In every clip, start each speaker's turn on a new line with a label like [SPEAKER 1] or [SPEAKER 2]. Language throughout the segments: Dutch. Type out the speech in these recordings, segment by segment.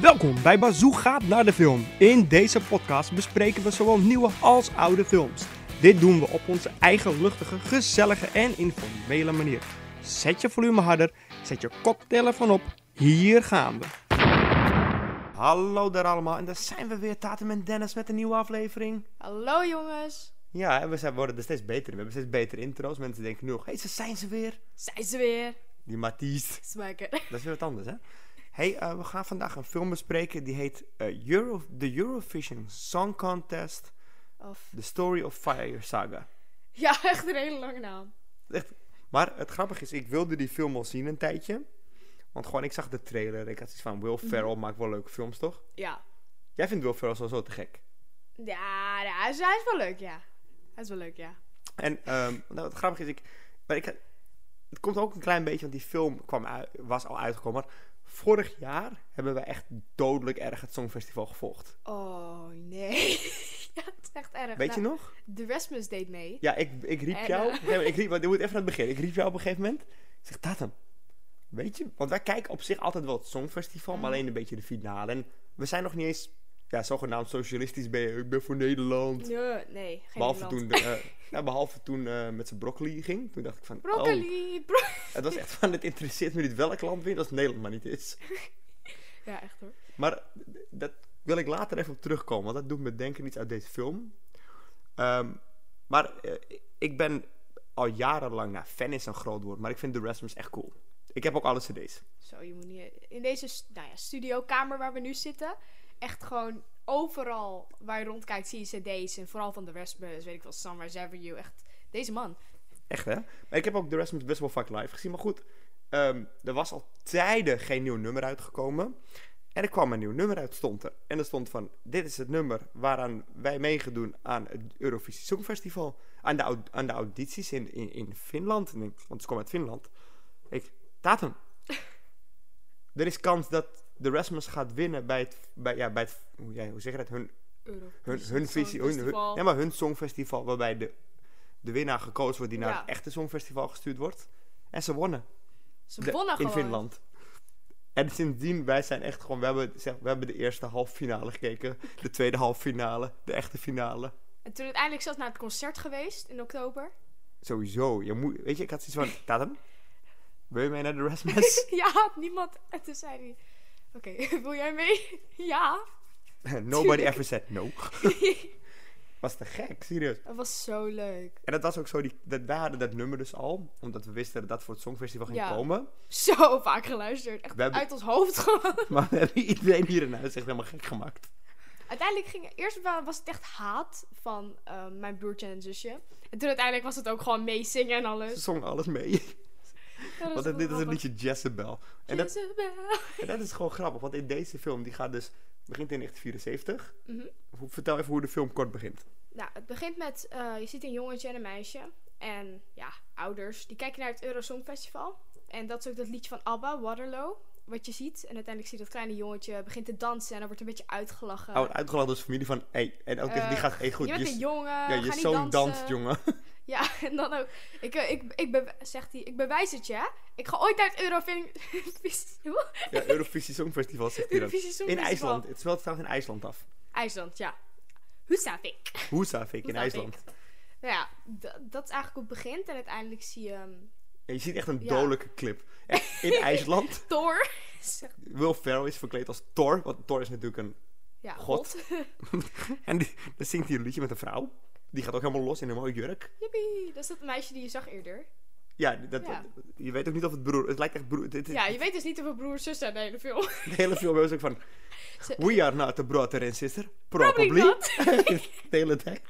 [SPEAKER 1] Welkom bij Bazoo gaat naar de film. In deze podcast bespreken we zowel nieuwe als oude films. Dit doen we op onze eigen luchtige, gezellige en informele manier. Zet je volume harder, zet je koptelefoon op. Hier gaan we. Hallo daar allemaal en daar zijn we weer, Tatum en Dennis met een nieuwe aflevering.
[SPEAKER 2] Hallo jongens,
[SPEAKER 1] Ja, en we zijn, worden er steeds beter in. We hebben steeds betere intro's. Mensen denken nu nog, hé, hey, ze zijn ze weer.
[SPEAKER 2] zijn ze weer.
[SPEAKER 1] Die Matisse.
[SPEAKER 2] Smaker.
[SPEAKER 1] Dat is weer wat anders, hè? hey, eh, we gaan vandaag een film bespreken die heet eh, Euro, The Eurovision Song Contest,
[SPEAKER 2] Of...
[SPEAKER 1] The Story of Fire Saga.
[SPEAKER 2] Ja, echt een hele lange naam.
[SPEAKER 1] Echt. Maar het grappige is, ik wilde die film al zien een tijdje. Want gewoon, ik zag de trailer. Ik had iets van, Will Ferrell maakt wel leuke films, toch?
[SPEAKER 2] Ja.
[SPEAKER 1] Jij vindt Will Ferrell sowieso te gek.
[SPEAKER 2] Ja, ja, hij, is, hij is wel leuk, ja. Hij is wel leuk, ja.
[SPEAKER 1] En ehm, nou, het grappige is, ik, maar ik, het komt ook een klein beetje, want die film kwam uit, was al uitgekomen. Maar vorig jaar hebben we echt dodelijk erg het Songfestival gevolgd.
[SPEAKER 2] Oh nee. ja, het is echt erg. Nou,
[SPEAKER 1] Weet je nog?
[SPEAKER 2] De Rasmus deed mee.
[SPEAKER 1] Ja, ik, ik riep
[SPEAKER 2] En,
[SPEAKER 1] jou.
[SPEAKER 2] eh,
[SPEAKER 1] Nee, maar ik riep, want ik moet even naar het begin. Ik riep jou op een gegeven moment. Ik zeg, Tatum, weet je... Want wij kijken op zich altijd wel het Songfestival, maar alleen een beetje de finale. En we zijn nog niet eens, ja, zogenaamd socialistisch ben je, ik ben voor Nederland.
[SPEAKER 2] Nee, nee geen
[SPEAKER 1] behalve,
[SPEAKER 2] Nederland.
[SPEAKER 1] toen, eh, ja, behalve toen eh, met zijn broccoli ging. Toen dacht ik van, oh,
[SPEAKER 2] Broccoli. bro-
[SPEAKER 1] het was echt van, het interesseert me niet welk land wint als Nederland maar niet is.
[SPEAKER 2] ja, echt hoor.
[SPEAKER 1] Maar d- dat wil ik later even op terugkomen, want dat doet me denken iets uit deze film. Ehm, maar eh, ik ben al jarenlang, nou, fan is een groot woord, maar ik vind The Rasmus echt cool. Ik heb ook alle CD's.
[SPEAKER 2] Zo, je moet niet... In deze st- nou ja, studiokamer waar we nu zitten... Echt gewoon overal waar je rondkijkt zie je cd's. En vooral van de Rasmus, weet ik wel, Somewhere's Ever You. Echt, deze man.
[SPEAKER 1] Echt, hè? Maar ik heb ook The Rasmus best wel vaak live gezien. Maar goed, ehm, er was al tijden geen nieuw nummer uitgekomen. En er kwam een nieuw nummer uit, stond er. En er stond van, dit is het nummer waaraan wij meegedoen aan het Eurovisie Songfestival. Aan de, au- aan de audities in, in, in Finland. En ik- Want ze komen uit Finland. Ik, datum. er is kans dat de Rasmus gaat winnen bij het, bij, ja, bij het hoe, ja, hoe zeg je dat, hun
[SPEAKER 2] Euro.
[SPEAKER 1] hun, hun visie, hun, hun, ja, maar hun songfestival, waarbij de, de winnaar gekozen wordt die naar
[SPEAKER 2] Ja.
[SPEAKER 1] het echte songfestival gestuurd wordt. En ze wonnen.
[SPEAKER 2] Ze
[SPEAKER 1] De-
[SPEAKER 2] wonnen
[SPEAKER 1] in
[SPEAKER 2] Ah, gewoon.
[SPEAKER 1] Finland. En sindsdien, wij zijn echt gewoon, we hebben, zeg, we hebben de eerste halve finale gekeken, de tweede halve finale, de echte finale.
[SPEAKER 2] En toen uiteindelijk zelfs naar het concert geweest in oktober.
[SPEAKER 1] Sowieso, je moet, weet je, ik had zoiets van, Tatum, wil je mee naar de Rasmus?
[SPEAKER 2] ja, niemand. En toen zei hij: Oké, wil jij mee? ja.
[SPEAKER 1] Nobody ever said no. Was te gek, serieus.
[SPEAKER 2] Dat was zo leuk.
[SPEAKER 1] En dat was ook zo, die, dat, wij hadden dat nummer dus al, omdat we wisten dat dat voor het songfestival ging
[SPEAKER 2] Ja.
[SPEAKER 1] komen.
[SPEAKER 2] Zo vaak geluisterd. Echt
[SPEAKER 1] We hebben-
[SPEAKER 2] uit ons hoofd gewoon.
[SPEAKER 1] Maar we hebben iedereen hier in huis echt helemaal gek gemaakt.
[SPEAKER 2] Uiteindelijk ging eerst wa- was het echt haat van eh, mijn broertje en zusje. En toen uiteindelijk was het ook gewoon meezingen en
[SPEAKER 1] Ze
[SPEAKER 2] alles.
[SPEAKER 1] zongen alles mee.
[SPEAKER 2] Ja, dat
[SPEAKER 1] Want dit is
[SPEAKER 2] wel
[SPEAKER 1] het
[SPEAKER 2] grappig.
[SPEAKER 1] liedje Jezebel. En dat,
[SPEAKER 2] Jezebel.
[SPEAKER 1] en dat is gewoon grappig, want in deze film, die gaat dus... Begint in 1974.
[SPEAKER 2] Mhm.
[SPEAKER 1] Hoe- Vertel even hoe de film kort begint.
[SPEAKER 2] Nou, het begint met, eh, je ziet een jongetje en een meisje. En ja, ouders, die kijken naar het Eurosong Festival. En dat is ook dat liedje van ABBA, Waterloo, wat je ziet. En uiteindelijk zie je dat kleine jongetje begint te dansen en dan wordt een beetje uitgelachen.
[SPEAKER 1] Oud uitgelachen door zijn familie van... Hey, en ook tegen die
[SPEAKER 2] Eh,
[SPEAKER 1] gaat... Hey, goed,
[SPEAKER 2] je bent
[SPEAKER 1] s-
[SPEAKER 2] een jongen,
[SPEAKER 1] ja, Oh, ah, je
[SPEAKER 2] ga niet
[SPEAKER 1] zoon
[SPEAKER 2] dansen.
[SPEAKER 1] danst, jongen.
[SPEAKER 2] Ja, en dan ook, ik, eh, ik, ik be- zegt hij, ik bewijs het je, hè. Ik ga ooit naar het Euroving- Hoe?
[SPEAKER 1] ja, Eurovisie Songfestival zegt hij dan.
[SPEAKER 2] Eurovisie Songfestival.
[SPEAKER 1] In IJsland. Het speelt trouwens in IJsland af.
[SPEAKER 2] IJsland, ja. Husavik.
[SPEAKER 1] Hoe zag ik in
[SPEAKER 2] Husavik.
[SPEAKER 1] IJsland?
[SPEAKER 2] Nou ja, d- dat is eigenlijk hoe het begint. En uiteindelijk zie je um,
[SPEAKER 1] En je ziet echt een
[SPEAKER 2] Ja.
[SPEAKER 1] dodelijke clip. Echt, in IJsland.
[SPEAKER 2] Thor.
[SPEAKER 1] Will Ferrell is verkleed als Thor. Want Thor is natuurlijk een
[SPEAKER 2] Ja,
[SPEAKER 1] God.
[SPEAKER 2] God.
[SPEAKER 1] En die, dan zingt hij een liedje met een vrouw. Die gaat ook helemaal los in een mooie jurk.
[SPEAKER 2] Jippie, dat is dat meisje die je zag eerder.
[SPEAKER 1] Ja, dat,
[SPEAKER 2] Ja.
[SPEAKER 1] je weet ook niet of het broer... Het lijkt echt broer... Dit,
[SPEAKER 2] Ja, je weet dus niet of een broer en zus zijn in de hele film.
[SPEAKER 1] De hele film is ook van...
[SPEAKER 2] Ze-
[SPEAKER 1] We are not a brother and sister.
[SPEAKER 2] Probably
[SPEAKER 1] Probably.
[SPEAKER 2] not.
[SPEAKER 1] de hele tijd.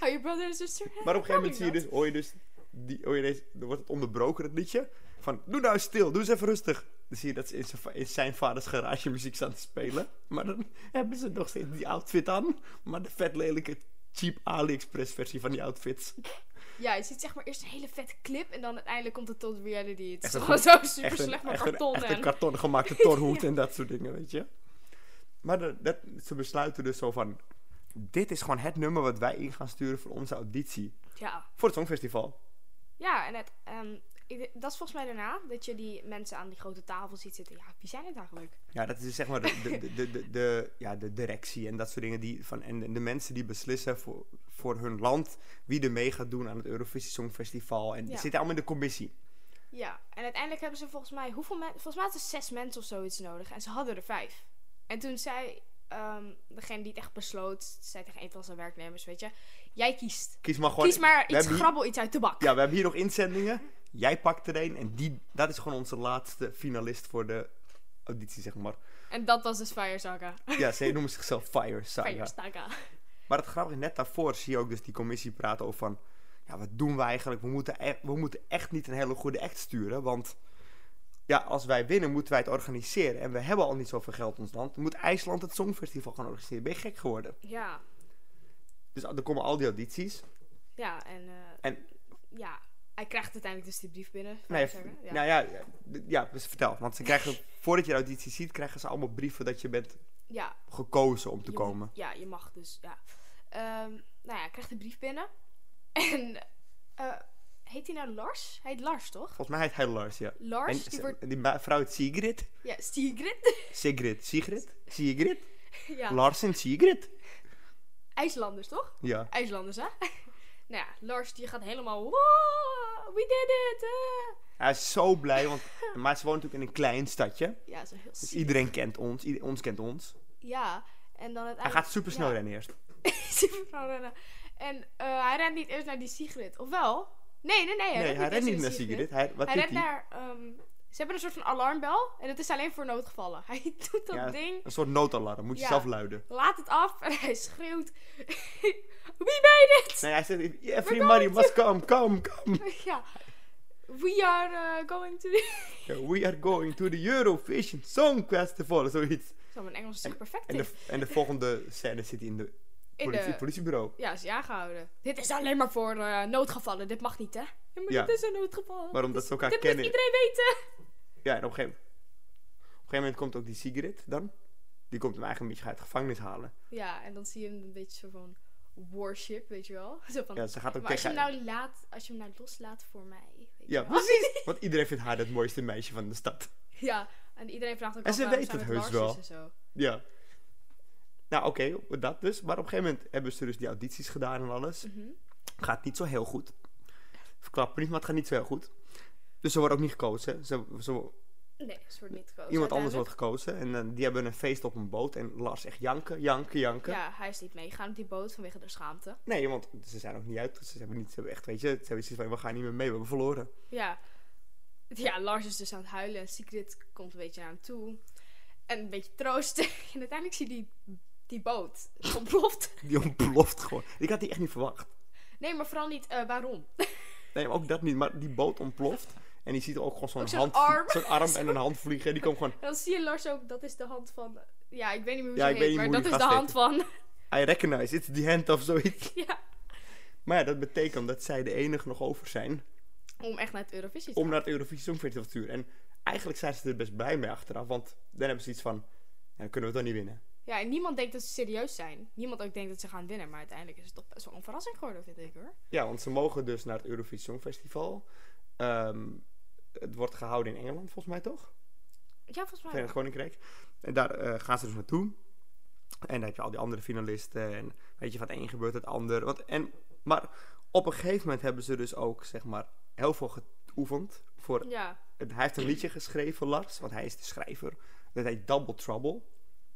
[SPEAKER 2] Are your brother and sister?
[SPEAKER 1] Maar op een gegeven moment zie je
[SPEAKER 2] Probably
[SPEAKER 1] dus... Hoor je dus... Die, hoor je deze, dan wordt het onderbroken, het liedje. Van, doe nou stil. Doe eens even rustig. Dan zie je dat ze in zijn, va- in zijn vaders garage muziek staan te spelen. Maar dan hebben ze nog steeds die outfit aan. Maar de vet lelijke cheap AliExpress versie van die outfits. dus-
[SPEAKER 2] not. Ja, je ziet zeg maar eerst een hele vette clip en dan uiteindelijk komt het tot reality. Het is
[SPEAKER 1] Echt een
[SPEAKER 2] gewoon
[SPEAKER 1] goed-
[SPEAKER 2] zo super
[SPEAKER 1] echt een,
[SPEAKER 2] slecht maar
[SPEAKER 1] echt een-
[SPEAKER 2] karton
[SPEAKER 1] echt een
[SPEAKER 2] en...
[SPEAKER 1] karton gemaakte torhoed en dat soort dingen, weet je. Maar de- dat, ze besluiten dus zo van... Dit is gewoon het nummer wat wij in gaan sturen voor onze auditie.
[SPEAKER 2] Ja.
[SPEAKER 1] Voor het Songfestival.
[SPEAKER 2] ja, en het, ehm, Ik d- dat is volgens mij daarna, dat je die mensen aan die grote tafel ziet zitten. Ja, wie zijn het eigenlijk?
[SPEAKER 1] Ja, dat is zeg maar de, de, de, de, de, de- ja, de directie en dat soort dingen. Die van, en de- de mensen die beslissen voor, voor hun land wie er mee gaat doen aan het Eurovisie Songfestival. En die
[SPEAKER 2] Ja.
[SPEAKER 1] zitten allemaal in de commissie.
[SPEAKER 2] Ja, en uiteindelijk hebben ze volgens mij, hoeveel men- volgens mij hadden ze zes mensen of zoiets nodig. En ze hadden er vijf. En toen zei ehm, degene die het echt besloot, zei tegen een van zijn werknemers, weet je, jij kiest.
[SPEAKER 1] Kies maar gewoon.
[SPEAKER 2] Kies maar
[SPEAKER 1] we
[SPEAKER 2] iets,
[SPEAKER 1] hebben hier-
[SPEAKER 2] grabbel iets uit de bak.
[SPEAKER 1] Ja, we hebben hier nog inzendingen. Jij pakt er een en die, dat is gewoon onze laatste finalist voor de auditie, zeg maar.
[SPEAKER 2] En dat was dus Fire Saga.
[SPEAKER 1] Ja, ze noemen zichzelf Fire Saga.
[SPEAKER 2] Fire Saga.
[SPEAKER 1] Maar het grappige, net daarvoor zie je ook dus die commissie praten over van... Ja, wat doen we eigenlijk? We moeten, e- we moeten echt niet een hele goede act sturen, want... Ja, als wij winnen, moeten wij het organiseren. En we hebben al niet zoveel geld in ons land. Moet IJsland het Songfestival gaan organiseren? Ben je gek geworden?
[SPEAKER 2] Ja,
[SPEAKER 1] Dus er komen al die audities.
[SPEAKER 2] ja, en, eh,
[SPEAKER 1] En-
[SPEAKER 2] ja, hij krijgt uiteindelijk dus die brief binnen. Fire
[SPEAKER 1] Nee,
[SPEAKER 2] Saga, ja.
[SPEAKER 1] Nou ja, ja, d- ja, dus vertel. Want ze krijgen, voordat je de auditie ziet, krijgen ze allemaal brieven dat je bent
[SPEAKER 2] ja,
[SPEAKER 1] gekozen om te
[SPEAKER 2] Je-
[SPEAKER 1] komen.
[SPEAKER 2] Ja, je mag dus, ja. Ehm, nou ja, ik krijg de brief binnen. En, eh, heet hij nou Lars? Hij heet Lars, toch?
[SPEAKER 1] Volgens mij heet hij Lars, ja.
[SPEAKER 2] Lars,
[SPEAKER 1] en
[SPEAKER 2] die
[SPEAKER 1] ze-
[SPEAKER 2] wordt...
[SPEAKER 1] die ma- vrouw heet Sigrid.
[SPEAKER 2] Ja, Stigrid.
[SPEAKER 1] Sigrid. Sigrid? Sigrid?
[SPEAKER 2] ja,
[SPEAKER 1] Lars en Sigrid?
[SPEAKER 2] IJslanders, toch?
[SPEAKER 1] Ja.
[SPEAKER 2] IJslanders, hè? nou ja, Lars die gaat helemaal... "Wow, we did it! eh."
[SPEAKER 1] Hij is zo blij, want, maar ze woont natuurlijk in een klein stadje.
[SPEAKER 2] Ja, zo heel
[SPEAKER 1] Dus
[SPEAKER 2] ziek.
[SPEAKER 1] iedereen kent ons. ieder- ons kent ons.
[SPEAKER 2] Ja, en dan uiteindelijk...
[SPEAKER 1] Hij gaat supersnel
[SPEAKER 2] ja,
[SPEAKER 1] rennen eerst.
[SPEAKER 2] supersnel rennen. En eh, hij rent niet eerst naar die Sigrid. Of wel? Nee, nee, nee. Hij
[SPEAKER 1] Nee, hij rent niet
[SPEAKER 2] eerst
[SPEAKER 1] naar Sigrid. Hij, wat
[SPEAKER 2] Hij
[SPEAKER 1] doet
[SPEAKER 2] rent naar. ehm, ze hebben een soort van alarmbel. En dat is alleen voor noodgevallen. Hij doet dat
[SPEAKER 1] Ja.
[SPEAKER 2] ding.
[SPEAKER 1] Een soort noodalarm. Moet je
[SPEAKER 2] Ja.
[SPEAKER 1] zelf luiden.
[SPEAKER 2] Laat het af. En hij schreeuwt. We made it!
[SPEAKER 1] Nee, hij zegt, everybody
[SPEAKER 2] going
[SPEAKER 1] must come, come, come.
[SPEAKER 2] Ja. We are eh, going to. the-"
[SPEAKER 1] We are going to the Eurovision Song Festival. Zoiets.
[SPEAKER 2] Zo, mijn Engels is echt perfect.
[SPEAKER 1] En
[SPEAKER 2] in.
[SPEAKER 1] de, en de volgende scène zit hij in de,
[SPEAKER 2] In
[SPEAKER 1] politie,
[SPEAKER 2] de-
[SPEAKER 1] politiebureau.
[SPEAKER 2] Ja, is hij aangehouden. Dit is alleen maar voor eh, noodgevallen. Dit mag niet, hè? Ja, maar
[SPEAKER 1] Ja.
[SPEAKER 2] dit is een noodgeval.
[SPEAKER 1] Maar omdat ze elkaar
[SPEAKER 2] dit
[SPEAKER 1] kennen.
[SPEAKER 2] moet iedereen weten.
[SPEAKER 1] Ja, en op een gegeven, op een gegeven moment komt ook die Sigrid dan. Die komt hem eigenlijk een beetje uit de gevangenis halen.
[SPEAKER 2] Ja, en dan zie je hem een beetje zo van. Worship, weet je wel? Zo van,
[SPEAKER 1] Ja, ze gaat ook
[SPEAKER 2] maar als je,
[SPEAKER 1] tegen...
[SPEAKER 2] hem nou laat, als je hem nou loslaat voor mij. Weet
[SPEAKER 1] Ja,
[SPEAKER 2] je wel?
[SPEAKER 1] precies. Want iedereen vindt haar het mooiste meisje van de stad.
[SPEAKER 2] Ja, en iedereen vraagt ook
[SPEAKER 1] En ze
[SPEAKER 2] af waarom
[SPEAKER 1] weet
[SPEAKER 2] zij
[SPEAKER 1] het
[SPEAKER 2] met
[SPEAKER 1] heus
[SPEAKER 2] Lars
[SPEAKER 1] wel.
[SPEAKER 2] is En zo.
[SPEAKER 1] Ja. Nou, oké, dat dus. Maar op een gegeven moment hebben ze dus die audities gedaan en alles.
[SPEAKER 2] Mhm.
[SPEAKER 1] Gaat niet zo heel goed. Verklap me niet, maar het gaat niet zo heel goed. Dus ze wordt ook niet gekozen. Ze, ze-
[SPEAKER 2] Nee, ze wordt niet gekozen.
[SPEAKER 1] iemand anders wordt
[SPEAKER 2] uiteindelijk.
[SPEAKER 1] gekozen. En dan die hebben een feest op een boot. En Lars echt janken, janken, janken.
[SPEAKER 2] Ja, hij is niet meegegaan op die boot vanwege de schaamte.
[SPEAKER 1] Nee, want ze zijn ook niet uit. Dus Ze hebben, niet, ze hebben echt, weet je, ze hebben zoiets van, we gaan niet meer mee, we hebben verloren.
[SPEAKER 2] Ja. Ja, Lars is dus aan het huilen en Sigrid komt een beetje naar hem toe. En een beetje troosten. En uiteindelijk zie je die, die boot ontploft.
[SPEAKER 1] Die ontploft gewoon. Ik had die echt niet verwacht.
[SPEAKER 2] Nee, maar vooral niet eh, waarom.
[SPEAKER 1] Nee, maar ook dat niet. Maar die boot ontploft. En die ziet ook gewoon zo'n
[SPEAKER 2] Ook zo'n
[SPEAKER 1] hand,
[SPEAKER 2] arm.
[SPEAKER 1] zo'n arm en een hand vliegen. En die komt gewoon,
[SPEAKER 2] En dan zie je Lars ook, dat is de hand van... Ja, ik weet niet meer hoe
[SPEAKER 1] Ja,
[SPEAKER 2] ze
[SPEAKER 1] ik weet niet
[SPEAKER 2] heet, maar
[SPEAKER 1] hoe
[SPEAKER 2] dat
[SPEAKER 1] die
[SPEAKER 2] is de
[SPEAKER 1] gast
[SPEAKER 2] hand van...
[SPEAKER 1] I recognize, it's the hand of zoiets.
[SPEAKER 2] Ja,
[SPEAKER 1] Maar ja, dat betekent dat zij de enige nog over zijn
[SPEAKER 2] om echt naar het Eurovisie te
[SPEAKER 1] om
[SPEAKER 2] gaan.
[SPEAKER 1] naar het Eurovisie Songfestival te sturen. En eigenlijk zijn ze er best blij mee achteraf, want dan hebben ze iets van, ja, kunnen we het dan niet winnen.
[SPEAKER 2] Ja, en niemand denkt dat ze serieus zijn. Niemand ook denkt dat ze gaan winnen. Maar uiteindelijk is het toch best wel een verrassing geworden, vind ik hoor.
[SPEAKER 1] Ja, want ze mogen dus naar het Eurovisie Songfestival. Ehm, het wordt gehouden in Engeland, volgens mij toch?
[SPEAKER 2] Ja, volgens mij.
[SPEAKER 1] Verenigd Koninkrijk. En daar eh, gaan ze dus naartoe. En dan heb je al die andere finalisten. En weet je, van het een gebeurt het ander. Want, en, maar op een gegeven moment hebben ze dus ook, zeg maar, heel veel geoefend. Voor,
[SPEAKER 2] Ja,
[SPEAKER 1] het- hij heeft een liedje geschreven, Lars. Want hij is de schrijver. Dat heet Double Trouble.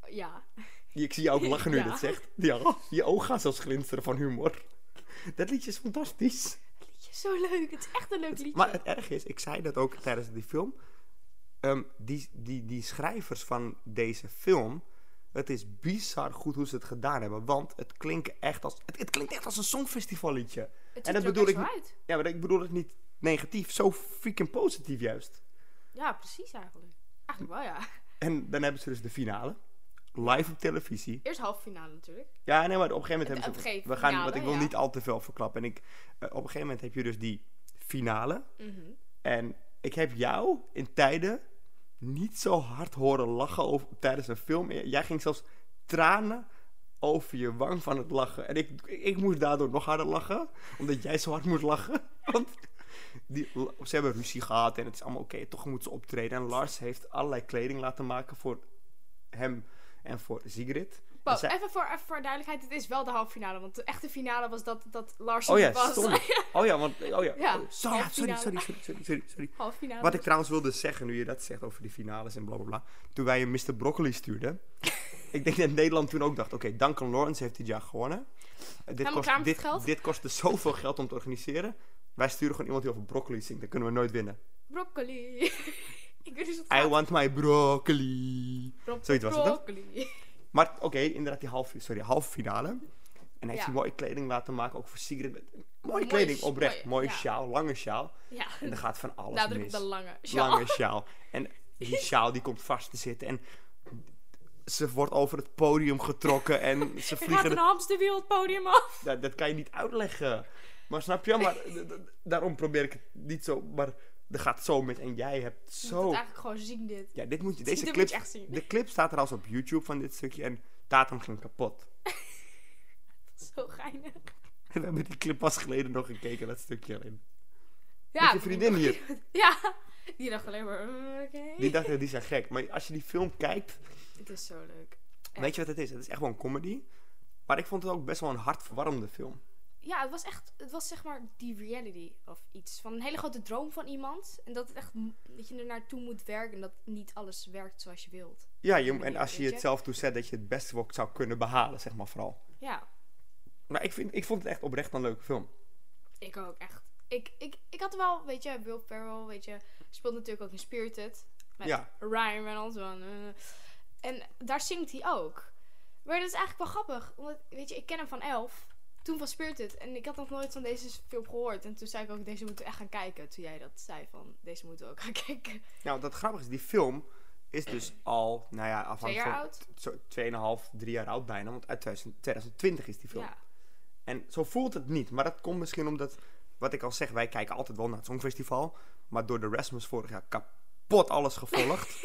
[SPEAKER 2] ja.
[SPEAKER 1] Die- Ik zie je ook lachen nu je
[SPEAKER 2] Ja.
[SPEAKER 1] dat zegt. Ja, je ogen gaan zelfs glinsteren van humor. Dat liedje is fantastisch.
[SPEAKER 2] Het liedje is zo leuk. Het is echt een leuk liedje.
[SPEAKER 1] Maar het erg is, ik zei dat ook tijdens die film. ehm, die, die, die schrijvers van deze film. Het is bizar goed hoe ze het gedaan hebben. Want het klinkt echt als, het, het klinkt echt als een songfestivalliedje.
[SPEAKER 2] Het
[SPEAKER 1] en dat
[SPEAKER 2] ziet er ook
[SPEAKER 1] bedoel
[SPEAKER 2] echt
[SPEAKER 1] ik
[SPEAKER 2] zo uit.
[SPEAKER 1] Ja, maar ik bedoel het niet negatief. Zo freaking positief juist.
[SPEAKER 2] Ja, precies eigenlijk. Eigenlijk wel, ja.
[SPEAKER 1] En dan hebben ze dus de finale. Live op televisie.
[SPEAKER 2] Eerst halve finale natuurlijk.
[SPEAKER 1] Ja, nee, maar op een gegeven moment hebben
[SPEAKER 2] Op een
[SPEAKER 1] ze...
[SPEAKER 2] gegeven
[SPEAKER 1] we gaan,
[SPEAKER 2] finale,
[SPEAKER 1] want ik wil
[SPEAKER 2] ja.
[SPEAKER 1] niet al te veel verklappen. En ik, eh, op een gegeven moment heb je dus die finale.
[SPEAKER 2] Mhm.
[SPEAKER 1] En ik heb jou in tijden niet zo hard horen lachen over, tijdens een film. Jij ging zelfs tranen over je wang van het lachen. En ik, ik moest daardoor nog harder lachen, omdat jij zo hard moest lachen. Want Die, ze hebben ruzie gehad en het is allemaal oké. Toch moeten ze optreden. En Lars heeft allerlei kleding laten maken voor hem en voor Sigrid.
[SPEAKER 2] Wow,
[SPEAKER 1] En zij-
[SPEAKER 2] even, voor, even voor duidelijkheid, het is wel de halve finale. Want de echte finale was dat, dat Lars
[SPEAKER 1] Oh ja,
[SPEAKER 2] was.
[SPEAKER 1] stom. Oh ja, want... Oh ja.
[SPEAKER 2] Ja,
[SPEAKER 1] Oh, sorry,
[SPEAKER 2] ja,
[SPEAKER 1] sorry,
[SPEAKER 2] finale.
[SPEAKER 1] sorry, sorry, sorry, sorry, sorry.
[SPEAKER 2] halve finale.
[SPEAKER 1] Wat ik trouwens wilde zeggen, nu je dat zegt over die finales en blablabla. Toen wij een Mr. Broccoli stuurden. ik denk dat Nederland toen ook dacht: oké, Duncan Lawrence heeft dit jaar gewonnen. Eh, dit,
[SPEAKER 2] Gaan we klaar met
[SPEAKER 1] dit,
[SPEAKER 2] het geld?
[SPEAKER 1] dit kostte zoveel geld om te organiseren. Wij sturen gewoon iemand die over broccoli zingt. Dan kunnen we nooit winnen.
[SPEAKER 2] Broccoli. ik weet niet wat
[SPEAKER 1] I want my broccoli. zoiets was het, toch?
[SPEAKER 2] Broccoli.
[SPEAKER 1] Maar oké, inderdaad, die halve, sorry, halve finale. En hij heeft
[SPEAKER 2] Ja.
[SPEAKER 1] die mooie kleding laten maken, ook voor Sigrid. Met- Mooie
[SPEAKER 2] Mooi
[SPEAKER 1] kleding,
[SPEAKER 2] sh-
[SPEAKER 1] oprecht.
[SPEAKER 2] mooi,
[SPEAKER 1] mooie
[SPEAKER 2] ja.
[SPEAKER 1] sjaal, lange sjaal.
[SPEAKER 2] Ja,
[SPEAKER 1] En er gaat van alles
[SPEAKER 2] nadruk op
[SPEAKER 1] mis.
[SPEAKER 2] de lange. Sjaal.
[SPEAKER 1] lange sjaal. En die sjaal die komt vast te zitten. En ze wordt over het podium getrokken en ze
[SPEAKER 2] Er gaat
[SPEAKER 1] vliegen...
[SPEAKER 2] een hamsterwiel het podium af.
[SPEAKER 1] Dat, dat kan je niet uitleggen. Maar snap je? Maar d- d- daarom probeer ik het niet zo... Maar er gaat zo met en jij hebt
[SPEAKER 2] Je moet het
[SPEAKER 1] zo...
[SPEAKER 2] eigenlijk gewoon zien dit.
[SPEAKER 1] Ja, dit moet je,
[SPEAKER 2] dit
[SPEAKER 1] deze
[SPEAKER 2] moet
[SPEAKER 1] clip,
[SPEAKER 2] je echt zien.
[SPEAKER 1] de clip staat trouwens op YouTube van dit stukje en datum ging kapot.
[SPEAKER 2] Zo geinig.
[SPEAKER 1] We hebben die clip pas geleden nog gekeken, dat stukje alleen.
[SPEAKER 2] Ja,
[SPEAKER 1] Met je vriendin hier.
[SPEAKER 2] Ja, die dacht alleen maar... mm, Oké.
[SPEAKER 1] Die dacht, die zijn gek. Maar als je die film kijkt,
[SPEAKER 2] Het is zo leuk. Ja.
[SPEAKER 1] weet je wat het is? Het is echt wel een comedy. Maar ik vond het ook best wel een hartverwarmende film.
[SPEAKER 2] Ja, het was echt... Het was zeg maar die reality of iets. Van een hele grote droom van iemand. En dat het echt... m- Dat je er naartoe moet werken. En dat niet alles werkt zoals je wilt.
[SPEAKER 1] Ja, je,
[SPEAKER 2] manier,
[SPEAKER 1] en als je
[SPEAKER 2] weet
[SPEAKER 1] het
[SPEAKER 2] je?
[SPEAKER 1] zelf toezet, dat je het beste wat zou kunnen behalen, zeg maar vooral.
[SPEAKER 2] Ja.
[SPEAKER 1] Maar ik, vind, ik vond het echt oprecht een leuke film.
[SPEAKER 2] Ik ook, echt. Ik, ik, ik had wel, weet je, Will Ferrell, weet je, speelt natuurlijk ook in Spirited. Met
[SPEAKER 1] Ja.
[SPEAKER 2] Ryan Reynolds. van, eh. en daar zingt hij ook. Maar dat is eigenlijk wel grappig. Omdat, weet je, ik ken hem van Elf. Toen van Spirited. En ik had nog nooit van deze film gehoord. En toen zei ik ook, deze moeten we echt gaan kijken. Toen jij dat zei van, deze moeten we ook gaan kijken.
[SPEAKER 1] Nou, dat grappige is, die film is dus al, nou ja,
[SPEAKER 2] Twee
[SPEAKER 1] afhankelijk
[SPEAKER 2] jaar
[SPEAKER 1] van...
[SPEAKER 2] oud.
[SPEAKER 1] Zo 2,5, 3 jaar oud bijna, want uit 2000 2020 is die film.
[SPEAKER 2] Ja.
[SPEAKER 1] En zo voelt het niet, maar dat komt misschien omdat, wat ik al zeg, wij kijken altijd wel naar het Songfestival. Maar door de Rasmus vorig jaar kapot alles gevolgd.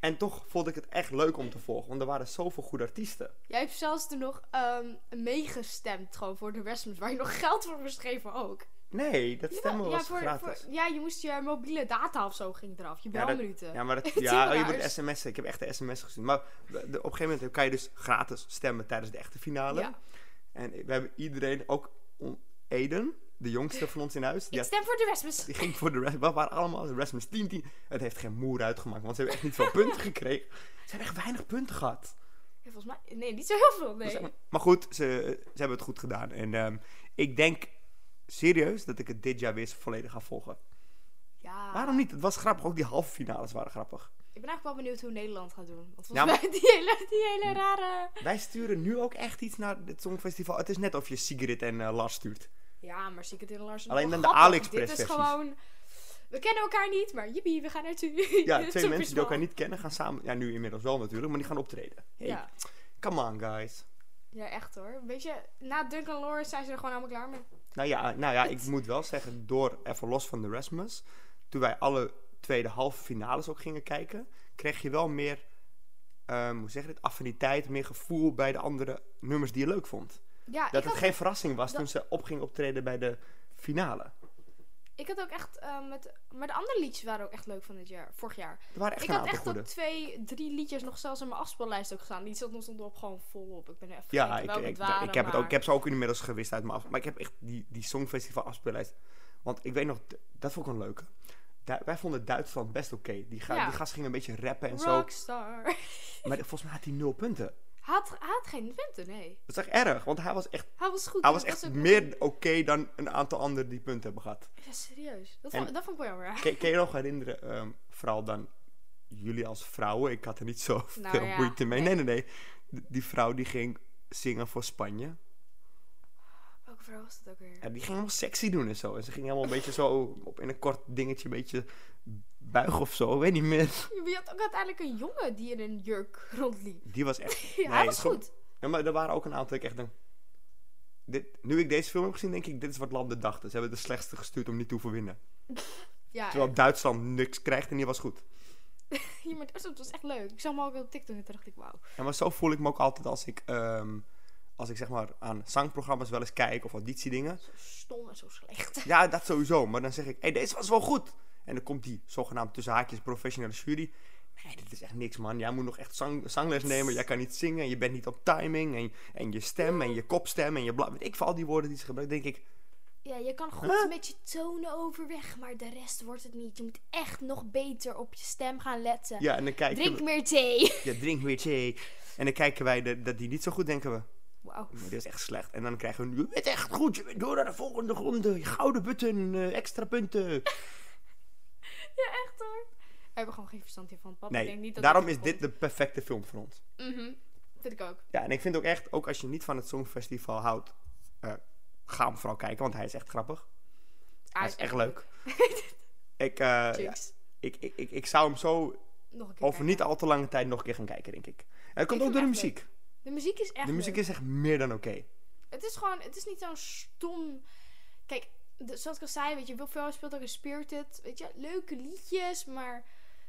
[SPEAKER 1] en toch vond ik het echt leuk om te volgen, want er waren zoveel goede artiesten.
[SPEAKER 2] Jij hebt zelfs toen nog ehm, meegestemd gewoon voor de Westmans. Waar je nog geld voor moest geven ook.
[SPEAKER 1] Nee, dat stemmen
[SPEAKER 2] ja,
[SPEAKER 1] was
[SPEAKER 2] voor-
[SPEAKER 1] gratis.
[SPEAKER 2] voor- ja, je moest je mobiele data of zo ging eraf. Je
[SPEAKER 1] Ja, dat-
[SPEAKER 2] belminuten.
[SPEAKER 1] Ja, maar dat,
[SPEAKER 2] Heel
[SPEAKER 1] ja, oh, je
[SPEAKER 2] raar.
[SPEAKER 1] moet de sms'en. Ik heb echt de sms gezien. Maar de- de- op een gegeven moment kan je dus gratis stemmen tijdens de echte finale.
[SPEAKER 2] Ja.
[SPEAKER 1] En we hebben iedereen, ook on- Eden, de jongste van ons in huis. Die,
[SPEAKER 2] Ik
[SPEAKER 1] had-
[SPEAKER 2] stem voor de Westmans.
[SPEAKER 1] die ging voor de rest. We waren allemaal de Rasmus 10 10. Het heeft geen moer uitgemaakt, want ze hebben echt niet veel punten gekregen. Ze hebben echt weinig punten gehad.
[SPEAKER 2] Ja, volgens mij, nee, niet zo heel veel.
[SPEAKER 1] Dus,
[SPEAKER 2] Nee.
[SPEAKER 1] eh, maar goed, ze, ze hebben het goed gedaan. En ehm, ik denk serieus dat ik het dit jaar weer eens volledig ga volgen.
[SPEAKER 2] Ja.
[SPEAKER 1] Waarom niet? Het was grappig. Ook die halve finales waren grappig.
[SPEAKER 2] Ik ben eigenlijk wel benieuwd hoe Nederland gaat doen. Want volgens
[SPEAKER 1] Ja, maar- Hm.
[SPEAKER 2] mij die hele, die hele rare.
[SPEAKER 1] Wij sturen nu ook echt iets naar het Songfestival. Het is net of je Sigrid en eh, Lars stuurt.
[SPEAKER 2] Ja, maar zie ik het in Lars.
[SPEAKER 1] Alleen dan
[SPEAKER 2] wel
[SPEAKER 1] de
[SPEAKER 2] grappig.
[SPEAKER 1] AliExpress
[SPEAKER 2] Dit is
[SPEAKER 1] versies.
[SPEAKER 2] gewoon. We kennen elkaar niet, maar jippie, we gaan naartoe.
[SPEAKER 1] Ja,
[SPEAKER 2] Het is
[SPEAKER 1] twee mensen
[SPEAKER 2] een
[SPEAKER 1] die elkaar
[SPEAKER 2] festival.
[SPEAKER 1] niet kennen gaan samen... Ja, nu inmiddels wel natuurlijk, maar die gaan optreden. Hey,
[SPEAKER 2] Ja.
[SPEAKER 1] Come on, guys.
[SPEAKER 2] ja, echt hoor. Weet je, na Duncan Lawrence zijn ze er gewoon allemaal klaar mee.
[SPEAKER 1] Nou ja, nou ja, ik moet wel zeggen, door even los van de Rasmus... Toen wij alle tweede halve finales ook gingen kijken... kreeg je wel meer, ehm, hoe zeg je dit, affiniteit, meer gevoel bij de andere nummers die je leuk vond.
[SPEAKER 2] Ja,
[SPEAKER 1] Dat
[SPEAKER 2] ik,
[SPEAKER 1] het
[SPEAKER 2] had,
[SPEAKER 1] geen verrassing was
[SPEAKER 2] dat-
[SPEAKER 1] toen ze op ging optreden bij de finale.
[SPEAKER 2] ik had ook echt. eh, met, maar de andere liedjes waren ook echt leuk van dit jaar, vorig jaar.
[SPEAKER 1] Er waren echt
[SPEAKER 2] Ik
[SPEAKER 1] een
[SPEAKER 2] had
[SPEAKER 1] aantal
[SPEAKER 2] echt
[SPEAKER 1] goede.
[SPEAKER 2] op twee, drie liedjes nog zelfs in mijn afspeellijst ook staan. Die stond stond op gewoon volop. Ik ben even
[SPEAKER 1] Ja,
[SPEAKER 2] vergeten
[SPEAKER 1] ik,
[SPEAKER 2] welke
[SPEAKER 1] ik,
[SPEAKER 2] het waren,
[SPEAKER 1] ik, heb het ook,
[SPEAKER 2] maar-
[SPEAKER 1] ik heb ze ook inmiddels gewist uit mijn af. Maar ik heb echt die, die Songfestival afspeellijst. Want ik weet nog, d- dat vond ik een leuke. Du- wij vonden Duitsland best oké. Die, ga,
[SPEAKER 2] Ja.
[SPEAKER 1] die gast ging een beetje rappen en
[SPEAKER 2] Rockstar.
[SPEAKER 1] zo. Maar volgens mij had hij nul punten.
[SPEAKER 2] Hij had, hij had geen punten, nee.
[SPEAKER 1] Dat is echt erg, want hij was echt,
[SPEAKER 2] Hij was goed.
[SPEAKER 1] hij
[SPEAKER 2] en
[SPEAKER 1] was
[SPEAKER 2] dat
[SPEAKER 1] echt
[SPEAKER 2] ook-
[SPEAKER 1] meer oké dan een aantal anderen die punten hebben gehad.
[SPEAKER 2] Ja, serieus. Dat
[SPEAKER 1] En-
[SPEAKER 2] vond, dat vond ik wel jammer.
[SPEAKER 1] Kun kun je nog herinneren, ehm, vooral dan jullie als vrouwen. Ik had er niet zo
[SPEAKER 2] Nou
[SPEAKER 1] veel
[SPEAKER 2] ja,
[SPEAKER 1] moeite mee. Nee,
[SPEAKER 2] nee.
[SPEAKER 1] nee, nee. D- Die vrouw die ging zingen voor Spanje.
[SPEAKER 2] Welke vrouw was dat ook weer?
[SPEAKER 1] Ja, die ging helemaal sexy doen en zo. En ze ging helemaal een beetje zo op in een kort dingetje, een beetje buigen of zo. Ik weet niet meer.
[SPEAKER 2] Je had ook uiteindelijk een jongen die in een jurk rondliep.
[SPEAKER 1] Die was echt.
[SPEAKER 2] Ja, hij
[SPEAKER 1] Nee,
[SPEAKER 2] was
[SPEAKER 1] zo-
[SPEAKER 2] goed.
[SPEAKER 1] Ja, maar er waren ook een aantal dat ik echt denk. Dit, nu ik deze film heb gezien, denk ik, dit is wat landen dachten. Ze hebben de slechtste gestuurd om niet te hoeven winnen.
[SPEAKER 2] Ja,
[SPEAKER 1] Terwijl Duitsland niks krijgt en die was goed.
[SPEAKER 2] ja, maar dat was echt leuk. Ik zag hem ook op TikTok en toen dacht ik, wauw.
[SPEAKER 1] Ja, maar zo voel ik me ook altijd als ik ehm, als ik zeg maar aan zangprogramma's wel eens kijk of auditiedingen.
[SPEAKER 2] Zo stom en zo slecht.
[SPEAKER 1] Ja, dat sowieso. Maar dan zeg ik, hé, hey, deze was wel goed. En dan komt die zogenaamd tussen haakjes professionele jury. Nee, dit is echt niks, man. Jij moet nog echt zang, zangles nemen. Jij kan niet zingen. Je bent niet op timing. En, en je stem en je kopstem en je bla... Weet ik voor al die woorden die ze gebruiken, denk ik...
[SPEAKER 2] Ja, je kan goed
[SPEAKER 1] Huh?
[SPEAKER 2] met je tonen overweg, maar de rest wordt het niet. Je moet echt nog beter op je stem gaan letten.
[SPEAKER 1] Ja, en dan kijken
[SPEAKER 2] Drink
[SPEAKER 1] we...
[SPEAKER 2] meer thee.
[SPEAKER 1] Ja, drink weer thee. En dan kijken wij de- dat die niet zo goed, denken we.
[SPEAKER 2] Wauw.
[SPEAKER 1] Maar dit is echt slecht. En dan krijgen we nu, je bent echt goed. Je bent door naar de volgende ronde. Je Gouden button, eh, extra punten.
[SPEAKER 2] Ja, echt hoor. We hebben gewoon geen verstand hiervan. Papa
[SPEAKER 1] Nee,
[SPEAKER 2] denkt niet dat
[SPEAKER 1] daarom
[SPEAKER 2] het
[SPEAKER 1] is dit de perfecte film voor ons.
[SPEAKER 2] komt. Mhm. Vind ik ook.
[SPEAKER 1] Ja, en ik vind ook echt, ook als je niet van het Songfestival houdt, eh, ga hem vooral kijken, want hij is echt grappig.
[SPEAKER 2] Ah,
[SPEAKER 1] Hij is echt leuk. Ik, eh, ja,
[SPEAKER 2] Jinx.
[SPEAKER 1] ik, ik, ik, ik zou hem zo
[SPEAKER 2] Nog een keer
[SPEAKER 1] over
[SPEAKER 2] kijken.
[SPEAKER 1] niet al te lange tijd nog een keer gaan kijken, denk ik. En dat komt
[SPEAKER 2] vind
[SPEAKER 1] ook door de
[SPEAKER 2] hem echt
[SPEAKER 1] muziek.
[SPEAKER 2] De muziek is echt
[SPEAKER 1] De muziek
[SPEAKER 2] leuk.
[SPEAKER 1] is echt meer dan oké.
[SPEAKER 2] Het is gewoon, het is niet zo'n stom... Kijk, de- zoals ik al zei, weet je, Will Ferrell speelt ook in Spirited. Weet je, leuke liedjes, maar...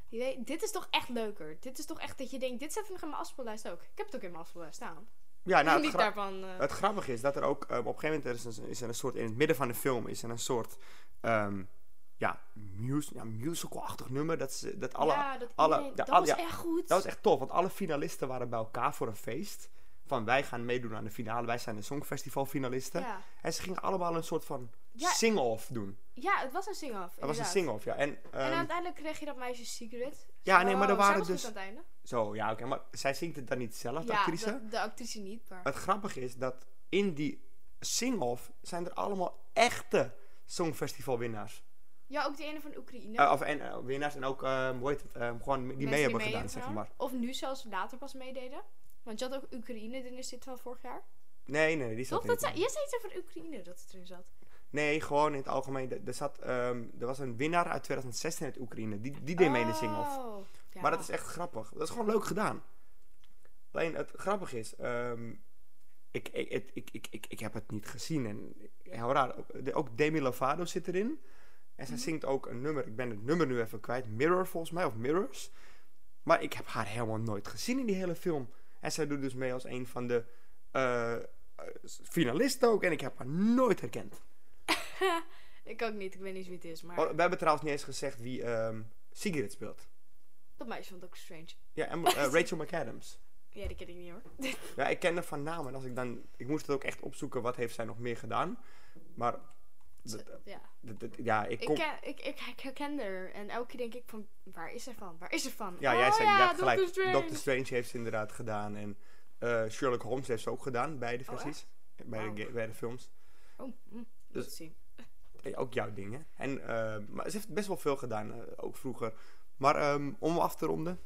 [SPEAKER 2] Je weet, dit is toch echt leuker. Dit is toch echt dat je denkt, dit zet ik nog in mijn afspeellijst ook. Ik heb het ook in mijn afspeellijst staan.
[SPEAKER 1] Ja, nou, het,
[SPEAKER 2] niet
[SPEAKER 1] gra-
[SPEAKER 2] daarvan... eh,
[SPEAKER 1] het grappige is dat er ook eh, op een gegeven moment er is, een, is er een soort, in het midden van de film is er een soort ehm, ja, mus- ja, musical-achtig nummer. Dat, ze, dat alle
[SPEAKER 2] ja, dat,
[SPEAKER 1] alle-
[SPEAKER 2] iedereen-
[SPEAKER 1] ja,
[SPEAKER 2] dat
[SPEAKER 1] alle-
[SPEAKER 2] was
[SPEAKER 1] ja,
[SPEAKER 2] echt goed.
[SPEAKER 1] Dat was echt tof, want alle finalisten waren bij elkaar voor een feest. Van wij gaan meedoen aan de finale, wij zijn de Songfestival finalisten.
[SPEAKER 2] ja.
[SPEAKER 1] En ze gingen allemaal een soort van
[SPEAKER 2] Ja.
[SPEAKER 1] sing-off doen.
[SPEAKER 2] ja, het was een sing-off.
[SPEAKER 1] Dat was een
[SPEAKER 2] inderdaad.
[SPEAKER 1] sing-off, ja. En, ehm,
[SPEAKER 2] En uiteindelijk kreeg je dat meisje Secret.
[SPEAKER 1] ja, nee, maar er
[SPEAKER 2] Wow, zij
[SPEAKER 1] waren
[SPEAKER 2] was goed
[SPEAKER 1] dus...
[SPEAKER 2] aan het einde.
[SPEAKER 1] Zo, ja, oké, maar zij zingt het dan niet zelf, de
[SPEAKER 2] ja,
[SPEAKER 1] actrice. Eh,
[SPEAKER 2] dat- de actrice niet, maar...
[SPEAKER 1] Het grappige is dat in die sing-off zijn er allemaal echte Songfestival-winnaars.
[SPEAKER 2] Ja, ook die ene van Oekraïne.
[SPEAKER 1] Eh, of en, eh, winnaars en ook, ehm, hoe heet het, ehm, gewoon die
[SPEAKER 2] Mensen
[SPEAKER 1] mee hebben gedaan,
[SPEAKER 2] hebben
[SPEAKER 1] zeg
[SPEAKER 2] gedaan.
[SPEAKER 1] maar.
[SPEAKER 2] Of nu zelfs later pas meededen. Want je had ook Oekraïne erin zitten van vorig jaar.
[SPEAKER 1] Nee, nee, die zat
[SPEAKER 2] Toch?
[SPEAKER 1] er
[SPEAKER 2] Dat
[SPEAKER 1] niet
[SPEAKER 2] zei, je zei iets over Oekraïne dat het erin zat.
[SPEAKER 1] Nee, gewoon in het algemeen. Er- Er, zat, ehm, er was een winnaar uit 2016 uit Oekraïne. Die, die deed mee in de sing-off.
[SPEAKER 2] Oh, ja.
[SPEAKER 1] Maar dat is echt grappig. Dat is gewoon leuk gedaan. Alleen het grappige is... ehm, ik, ik, het- ik, ik, ik, ik heb het niet gezien. En heel raar. Ook- de- Ook Demi Lovato zit erin. En zij
[SPEAKER 2] Mhm.
[SPEAKER 1] zingt ook een nummer. Ik ben het nummer nu even kwijt. Mirror volgens mij. Of Mirrors. Maar ik heb haar helemaal nooit gezien in die hele film. En zij doet dus mee als een van de eh, eh, finalisten ook. En ik heb haar nooit herkend.
[SPEAKER 2] Ik ook niet, ik weet niet wie het is, maar
[SPEAKER 1] Oh, we hebben trouwens niet eens gezegd wie ehm Sigrid speelt.
[SPEAKER 2] dat meisje vond ik ook strange.
[SPEAKER 1] Ja, en, eh, Rachel McAdams.
[SPEAKER 2] Ja, die ken ik niet hoor.
[SPEAKER 1] Ja, ik ken haar van naam en als ik dan... Ik moest het ook echt opzoeken, wat heeft zij nog meer gedaan. Maar... dat-
[SPEAKER 2] Ze- ja.
[SPEAKER 1] dat- dat- ja, ik
[SPEAKER 2] Ik,
[SPEAKER 1] kom...
[SPEAKER 2] ken, ik, ik, ik herken haar en elke keer denk ik van, waar is ze van? Waar is ze van?
[SPEAKER 1] Ja, jij
[SPEAKER 2] Oh
[SPEAKER 1] zei, jij hebt
[SPEAKER 2] Dr.
[SPEAKER 1] gelijk.
[SPEAKER 2] Strange.
[SPEAKER 1] Doctor Strange heeft ze inderdaad gedaan. En eh, Sherlock Holmes heeft ze ook gedaan, beide
[SPEAKER 2] Oh,
[SPEAKER 1] versies. bij, de,
[SPEAKER 2] Wauw.
[SPEAKER 1] ga- bij de films.
[SPEAKER 2] Oh, hm,
[SPEAKER 1] Dus-
[SPEAKER 2] dat zien.
[SPEAKER 1] Eh, ook jouw ding, hè? En, eh, maar ze heeft best wel veel gedaan, eh, ook vroeger. Maar ehm, om af te ronden...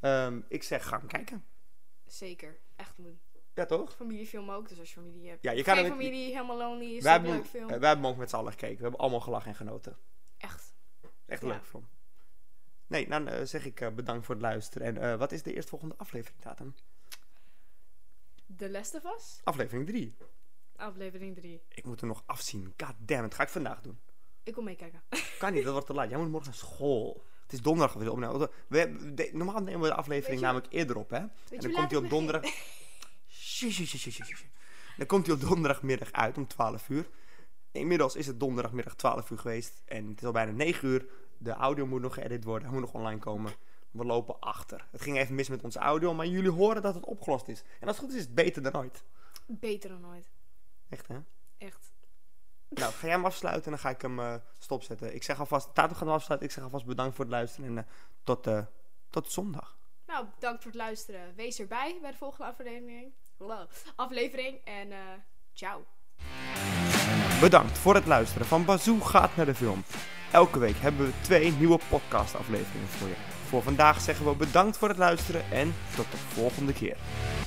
[SPEAKER 1] ehm, ik zeg, ga hem kijken.
[SPEAKER 2] Zeker, echt doen.
[SPEAKER 1] Ja, toch?
[SPEAKER 2] Familiefilm ook, dus als je familie hebt.
[SPEAKER 1] Ja, je kan
[SPEAKER 2] Geen
[SPEAKER 1] hem-
[SPEAKER 2] familie, helemaal lonely, is
[SPEAKER 1] We
[SPEAKER 2] een
[SPEAKER 1] hebben,
[SPEAKER 2] leuk
[SPEAKER 1] eh,
[SPEAKER 2] film.
[SPEAKER 1] we hebben hem ook met z'n allen gekeken. We hebben allemaal gelachen en genoten.
[SPEAKER 2] echt.
[SPEAKER 1] Echt een
[SPEAKER 2] Ja.
[SPEAKER 1] leuk film. Nee, dan eh, zeg ik eh, bedankt voor het luisteren. En eh, wat is de eerstvolgende aflevering, datum?
[SPEAKER 2] The Last of Us,
[SPEAKER 1] Aflevering 3.
[SPEAKER 2] aflevering 3.
[SPEAKER 1] Ik moet er nog afzien. God damn it, ga ik vandaag doen.
[SPEAKER 2] Ik kom meekijken.
[SPEAKER 1] Kan niet, dat wordt te laat. Jij moet morgen naar school. Het is donderdag weer opnemen. We, hebben- de- normaal nemen we de aflevering
[SPEAKER 2] Weet je-
[SPEAKER 1] namelijk eerder op, hè? En
[SPEAKER 2] Weet je
[SPEAKER 1] dan
[SPEAKER 2] hoe
[SPEAKER 1] komt
[SPEAKER 2] laat
[SPEAKER 1] hij
[SPEAKER 2] ik
[SPEAKER 1] op
[SPEAKER 2] begin?
[SPEAKER 1] donderdag... Sjoe, sjoe, sjoe, sjoe, sjoe, sjoe. Dan komt hij op donderdagmiddag uit om 12 uur. Inmiddels is het donderdagmiddag 12 uur geweest. En het is al bijna 9 uur. De audio moet nog geëdit worden. Hij moet nog online komen. We lopen achter. Het ging even mis met onze audio, maar jullie horen dat het opgelost is. En als het goed is, is het beter dan ooit.
[SPEAKER 2] Beter dan ooit.
[SPEAKER 1] Echt, hè?
[SPEAKER 2] Echt.
[SPEAKER 1] Nou, ga jij hem afsluiten en dan ga ik hem eh, stopzetten. Ik zeg alvast, Tato gaat hem afsluiten. Ik zeg alvast bedankt voor het luisteren en eh, tot, eh, tot zondag.
[SPEAKER 2] Nou, bedankt voor het luisteren. Wees erbij bij de volgende aflevering. Wow. Aflevering en eh, ciao.
[SPEAKER 1] Bedankt voor het luisteren van Bazoo gaat naar de film. Elke week hebben we twee nieuwe podcastafleveringen voor je. Voor vandaag zeggen we bedankt voor het luisteren en tot de volgende keer.